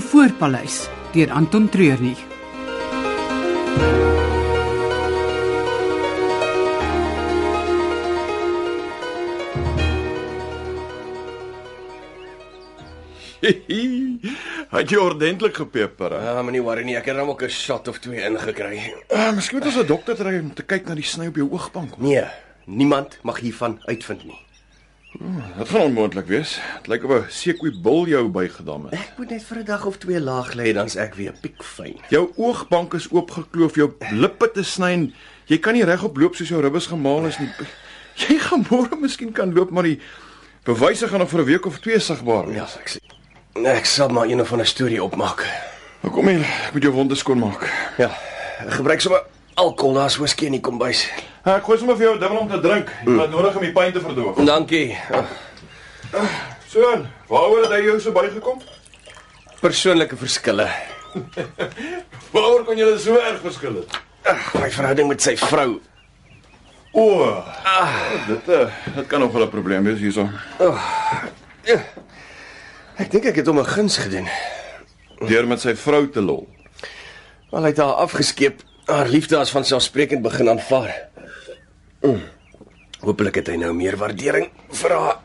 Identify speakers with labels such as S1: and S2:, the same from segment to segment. S1: Spoorpaleis deur Anton Treurnig.
S2: Had jy ordentlik gepeper? hè?
S3: Ah, moenie worry nie, ek het dan ook 'n shot of twee ingekry.
S2: Ah, miskien moet ons 'n dokter kry om te kyk na die sny op jou oogbank.
S3: Nee, niemand mag hiervan uitvind nie.
S2: Dit gaan onmoontlik wees. Dit lyk of 'n seekoeibul jou bygedam het.
S3: Ek moet net vir 'n dag of twee laag lê, dan's ek weer piekfyn.
S2: Jou oogbank is oopgekloof, jou lippe te sny en jy kan nie regop loop soos jou ribbes gemaal is nie. Jy gaan môre miskien kan loop, maar die bewyse gaan nog vir 'n week of twee sigbaar
S3: Ja,
S2: wees.
S3: ek sê. Ek sal maar een of ander storie opmaak.
S2: Nou Kom hier, ek moet jou wonde skoonmaak.
S3: Ja, gebruik sommer alkohol, daar's whisky in die kombuis.
S2: Ah, Ek gooi sommer vir jou 'n dubbel om te drink. Jy het nodig om die pyn te verdoof.
S3: Dankie. Ah,
S2: So, waaroor het hy jou so bygekom?
S3: Persoonlike verskille.
S2: Waaroor kon julle so erg verskil het?
S3: Ag, Ah, my verhouding met sy vrou.
S2: O. Ah, dit eh, dit kan nog wel 'n probleem wees hierso.
S3: Ek dink ek het hom 'n guns gedoen.
S2: Deur met sy vrou te lol.
S3: Al hy het haar afgeskeep. Haar liefde as van selfsprekend begin aanvaar. Mm. Hoopelik het hy nou meer waardering vir haar.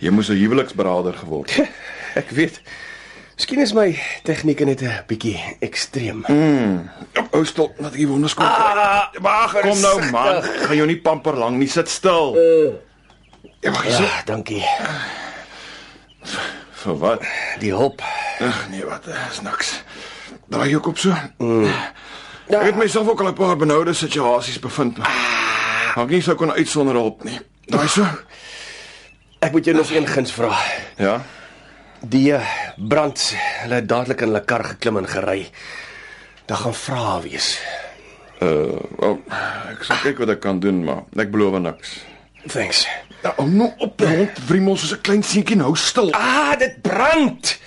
S2: Jy moes 'n huweliksberader geword het.
S3: Ek weet. Miskien is my tegniek net 'n bietjie ekstreem.
S2: Ou stil, laat ek die wonde skoon. Ah,
S3: Wag,
S2: kom nou man, gaan jou nie pamper lang nie, sit stil. Ja, wag, ja.
S3: Ja, dankie.
S2: vir wat?
S3: Die hulp.
S2: Ag nee, wat, eh, is niks. Draai jou kop so. Mm. Ek het myself ook al 'n paar benoude situasies bevind. Maar ek nie sou kon uit sonder hulp nie. Daai so?
S3: Ek moet jou nog een guns vra.
S2: Ja.
S3: Die eh, brand, hulle het dadelik in hulle kar geklim en gery. Daar gaan vrae wees.
S2: Uh, wel, ek sal kyk wat ek kan doen, maar ek beloof niks.
S3: Thanks.
S2: Nou, hou nou op rond vriemel soos 'n klein seentjie nou stil.
S3: Ah, dit brand.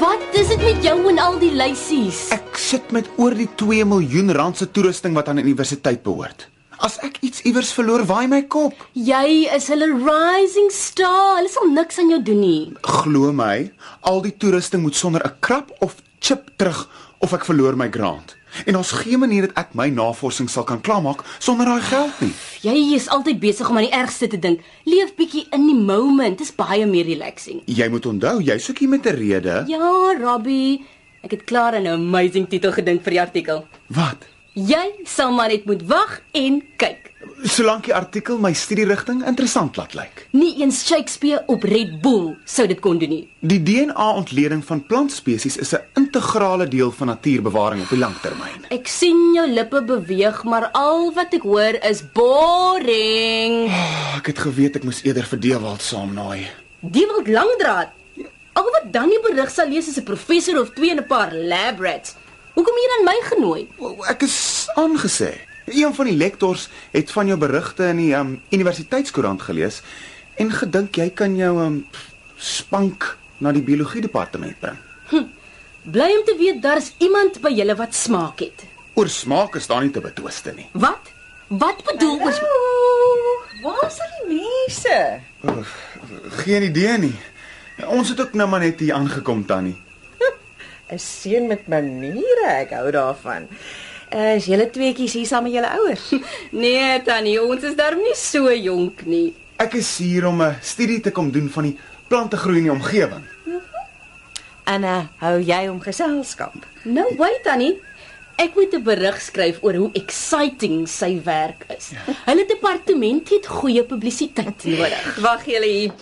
S4: Wat is dit met jou en al die lysies?
S5: Ek sit met oor die 2 miljoen rand se toerusting wat aan 'n universiteit behoort. As ek iets iewers verloor, waai my kop.
S4: Jy is hulle rising star. Hulle sal niks aan jou doen nie.
S5: Glo my, al die toerusting moet sonder 'n krap of chip terug of ek verloor my grant. En ons geen manier dat ek my navorsing sal kan klaarmaak sonder daai geld nie.
S4: Jy is altyd besig om aan die ergste te dink. Leef bietjie in die moment. Dit is baie meer relaxing.
S5: Jy moet onthou, jy soek hier met 'n rede.
S4: Ja, Robbie, ek het klaar aan 'n amazing titel gedink vir die artikel.
S5: Wat?
S4: Jy sal maar net moet wag en kyk.
S5: Solank die artikel my studierigting interessant laat lyk.
S4: Nie eens Shakespeare op Red Bull sou dit kon doen nie.
S5: Die DNA-ontleding van plantspesies is 'n integrale deel van natuurbewaring op die lang termyn.
S4: Ek sien jou lippe beweeg, maar al wat ek hoor is boring.
S5: Ek het geweet ek moes eerder vir Dewald saamnaai.
S4: Die wil langdraad. Al wat dan die berig sal lees is 'n professor of twee en 'n paar lab rats. Hoekom hier aan my genooi?
S5: O, Ek is aangesê. Een van die lektors het van jou berigte in die um, universiteitskoerant gelees en gedink jy kan jou um, spank na die biologie departement bring.
S4: Bly om te weet daar's iemand by julle wat smaak het.
S5: Oor smaak is daar nie te betwiste nie.
S4: Wat? Wat bedoel oor smaak?
S6: Waar is al die mense?
S5: Geen idee nie. Ons het ook nou maar net hier aangekom tannie.
S6: 'n Seun met maniere, ek hou daarvan. Eh, Is julle tweeetjies hier saam met julle ouers?
S4: Nee, tannie, ons is darm nie so jonk nie.
S5: Ek is hier om 'n studie te kom doen van die plantegroei in die omgewing.
S6: En uh, hou jy hom geselskap?
S4: Nou wait tannie. Ek moet 'n berig skryf oor hoe exciting sy werk is.
S6: Ja.
S4: Hulle departement het goeie publisiteit nodig.
S6: Wag julle hier.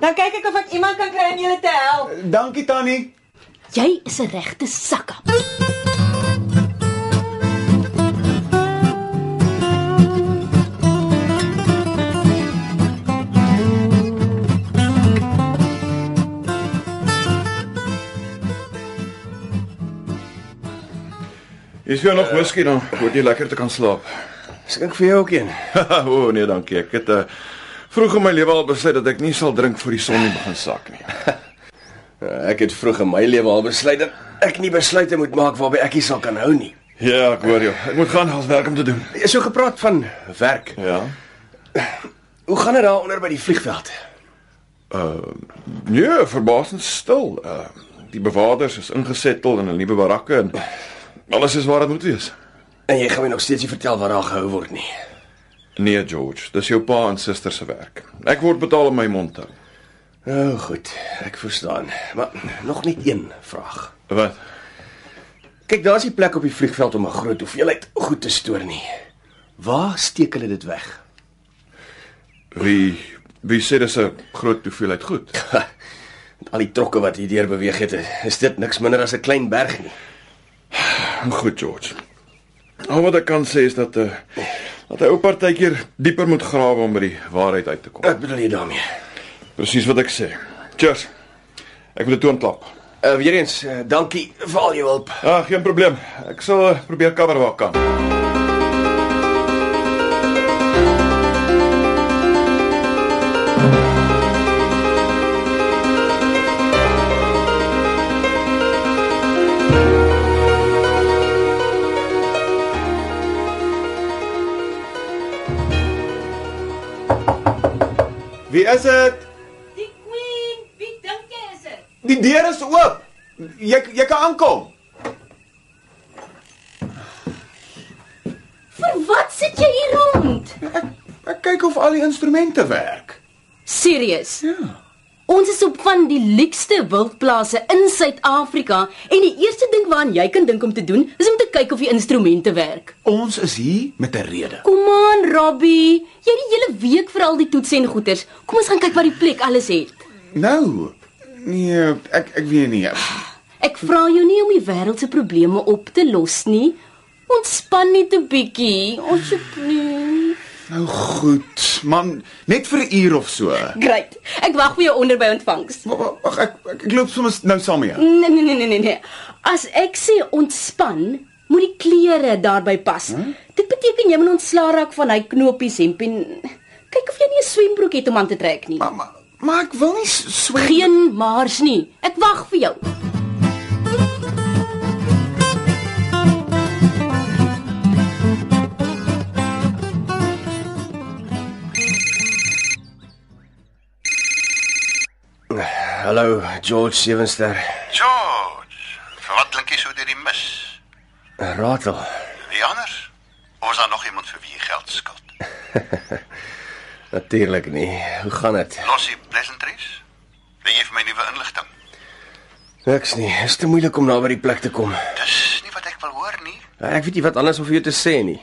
S6: Dan kyk ek of ek iemand kan kry om julle te help.
S5: Dankie tannie.
S4: Jy is 'n regte sakkap.
S2: Jy sien nog whisky dan, word jy lekker te kan slaap.
S3: Skink vir jou ook een.
S2: o nee, dankie. Ek het uh, vroeg in my lewe al besluit dat ek nie sal drink voor die son nie begin sak nie.
S3: Ek het vroeg in my lewe al besluit dat ek nie besluite moet maak waarby ek nie sal kan hou nie.
S2: Ja, ek hoor jou. Ek moet gaan, ons werk om te doen.
S3: Jy sou gepraat van werk.
S2: Ja.
S3: Hoe gaan dit daar onder by die vliegveld?
S2: Nee, verbasend stil. Uh, die bewakers is ingesettel in 'n nuwe barakke en alles is waar dit moet wees.
S3: En jy gaan my nog steeds nie vertel wat daar gehou word nie.
S2: Nee, George, dis jou pa en suster se werk. Ek word betaal om my mond te hou.
S3: Nou goed, ek verstaan. Maar nog net een vraag.
S2: Wat?
S3: Kyk, daar's nie plek op die vliegveld om 'n groot hoeveelheid goed te stoor nie. Waar steek hulle dit weg?
S2: Wie wie sê dis 'n groot hoeveelheid goed?
S3: Ha, Met al die trokke wat hier deur beweeg het, is dit niks minder as 'n klein berg nie.
S2: Goed, George. Al wat ek kan sê is dat 'n uh, dat hy ou partykeer dieper moet grawe om by die waarheid uit te kom.
S3: Wat bedoel jy daarmee?
S2: Presies wat ek sê. Cheers. Ek wil dit toe aanklap.
S3: Uh, weer eens, uh, dankie vir al jou hulp.
S2: Ah, geen probleem. Ek sal eh, probeer cover waar ek kan.
S5: Wie is dit?
S4: Die queen, wie dink jy is dit?
S5: Die deur is oop. Jy jy kan aankom.
S4: Vir wat sit jy hier rond?
S5: Ek ek kyk of al die instrumente werk.
S4: Serius? Ja. Ons is op van die liekste wildplase in Suid-Afrika en die eerste ding waaraan jy kan dink om te doen is om te kyk of die instrumente werk.
S5: Ons is hier met 'n rede.
S4: Kom aan, Robbie. Jy het die hele week vir al die toetse en goeters. Kom ons gaan kyk wat die plek alles het.
S5: Nou. Nee, ek ek weet nie.
S4: Ek vra jou nie om die wêreld se probleme op te los nie. Ontspan net 'n bietjie, asseblief.
S5: Nou goed, man, net vir 'n uur of so.
S4: Great. Ek wag vir jou onder by ontvangs.
S5: Wa- wa- Wag, ek ek, ek loop sommer nou saam met jou.
S4: Nee nee nee nee nee, nee. As ek sê ontspan, moet die klere daarby pas. Hm? Dit beteken jy moet ontslaa raak van hy knopies hemp en kyk of jy nie 'n swembroek het om aan te trek nie.
S5: Maar, maar, maar ek wil nie s- swe
S4: Geen maars nie. Ek wag vir jou.
S3: Hallo, George Sewenster.
S7: George, vir wat klink jy so deur die mis?
S3: Ratel.
S7: Wie anders? Of is daar nog iemand vir wie jy geld skuld?
S3: Natuurlik nie. Hoe gaan dit?
S7: Los die pleasantries. Wil jy vir my nuwe inligting?
S3: Niks nie. Is te moeilik om naby die plek te kom. Eh,
S7: Dis nie wat ek wil hoor nie.
S3: Ek weet nie wat anders om vir jou te sê nie.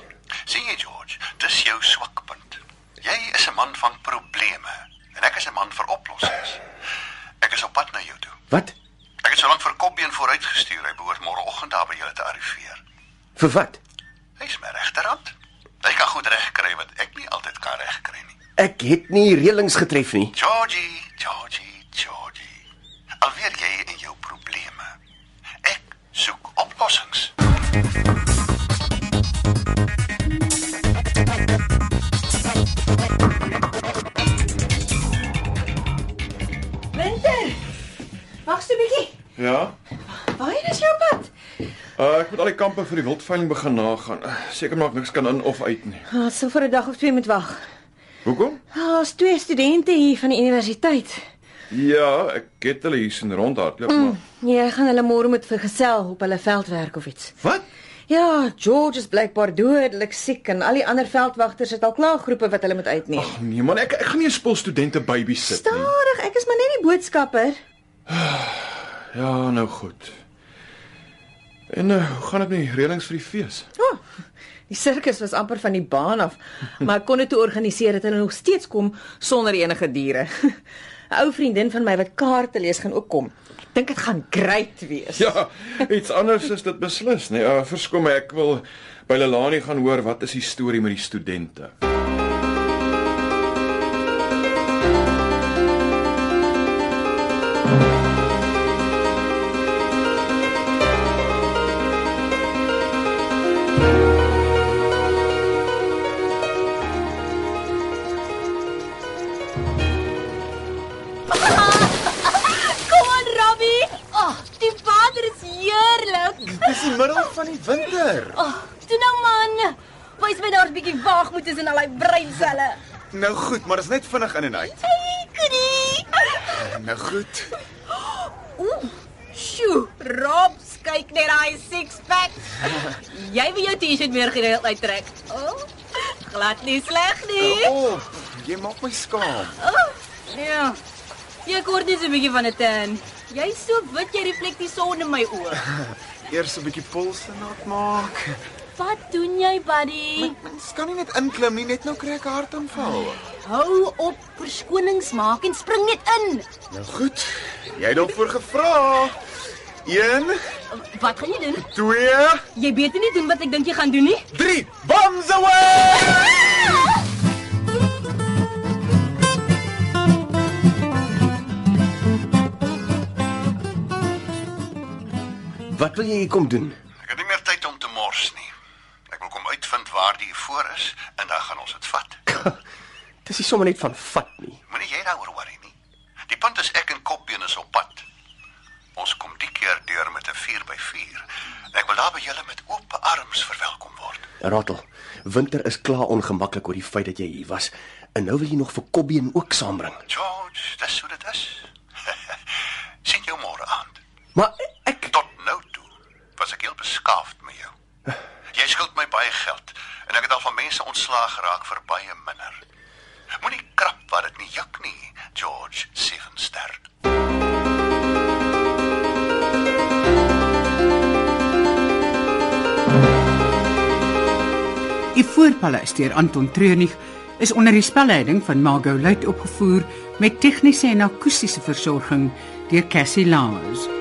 S7: Sien jy George, dis jou swakpunt. Jy is 'n man van probleme en ek is 'n man vir oplossings. Ek is op pad na jou toe.
S3: Wat?
S7: Ek het solank vir Kopbeen vooruit gestuur. Hy behoort môreoggend daar by julle te arriveer.
S3: Vir wat?
S7: Hy's my regterhand. Hy kan goed regkry wat ek nie altyd kan regkry nie.
S3: Ek het nie reëlings getref nie.
S7: Georgie, Georgie, Georgie. Alweer jy en jou probleme. Ek soek oplossings.
S6: Winter. Wag so 'n bietjie.
S2: Ja.
S6: Waar is jou pad?
S2: Uh, ek moet al die kampe vir die wildveiling begin nagaan. Uh, Seker maak niks kan in of uit nie.
S6: Ons Nou, sal vir 'n dag of twee moet wag.
S2: Hoekom?
S6: Daar's twee studente hier van die universiteit.
S2: Ja, ek het hulle hier sien rondhardloop, maar
S6: Jy gaan Nee, hulle môre moet vergesel op hulle veldwerk of iets.
S2: Wat?
S6: Ja, George is blykbaar dodelik siek en al die ander veldwagters het al klaar groepe wat hulle moet uitneem.
S2: Nee man, ek ek gaan nie 'n spul studente baby sit nie.
S6: Stadig, ek is maar net die boodskapper.
S2: Ja, nou goed. En uh, hoe gaan dit met die reëlings vir die fees?
S6: O, oh, die sirkus was amper van die baan af, maar ek kon dit toe organiseer dat hulle nog steeds kom sonder enige diere. 'n Ou vriendin van my wat kaarte lees gaan ook kom. Ek dink dit gaan great wees.
S2: Ja, iets anders is dit beslis, nee. Uh, verskoon my, ek wil by Lelani gaan hoor wat is die storie met die studente.
S4: Kom aan, Robbie. nou, my daar's bietjie waag moet is in al daai breinselle.
S5: Nou goed, maar dit is net vinnig in en uit.
S4: Hey, koekie.
S5: Nou goed.
S6: Ooh. Sjoe, Robs, kyk net daai six-pack. Jy wil jou T-shirt weer gereeld uittrek. O, oh, glad nie sleg nie.
S5: Op. Jy maak my skaam.
S6: Ja. Jy kort net so 'n bietjie van 'n tan. Jy's so wit jy reflekteer die son in my oë.
S5: Eers 'n bietjie polse nat maak.
S4: Wat doen jy, buddy?
S5: Mens kan nie net inklim nie, net nou kry ek 'n hartaanval.
S4: Hou op verskonings maak en spring net in.
S5: Nou goed. Jy het daarvoor gevra. 1
S4: Wat gaan jy doen?
S5: 2
S4: Jy weet nie doen wat ek dink jy gaan doen nie.
S5: 3 Bombs away!
S3: Wat wil jy hier kom doen?
S7: Ek het nie meer tyd om te mors nie. Ek wil kom uitvind waar die voor is en dan gaan ons dit vat.
S3: Dis nie sommer net van vat nie.
S7: Moenie jy daaroor worry nie. Die punt is ek en Kopbeen is op pad. Ons kom die keer deur met 'n 4x4. En ek wil daar by julle met oop arms verwelkom word.
S3: Rottel, Winter is klaar ongemaklik oor die feit dat jy hier was en nou wil jy nog vir Kobbie en ook saambring.
S7: George, dis hoe dit is. sien jou môre aand.
S3: Maar ek
S7: Tot nou toe was ek heel beskaafd met jou. Jy skuld my baie geld en ek het al van mense ontslaag geraak vir baie minder. Moenie krap wat dit nie juk nie, George Sevenster.
S1: Die voorpaleis deur Anton Treurnig is onder die spelleiding van Margot Luit opgevoer met tegniese en akoestiese versorging deur Cassie Lawrence.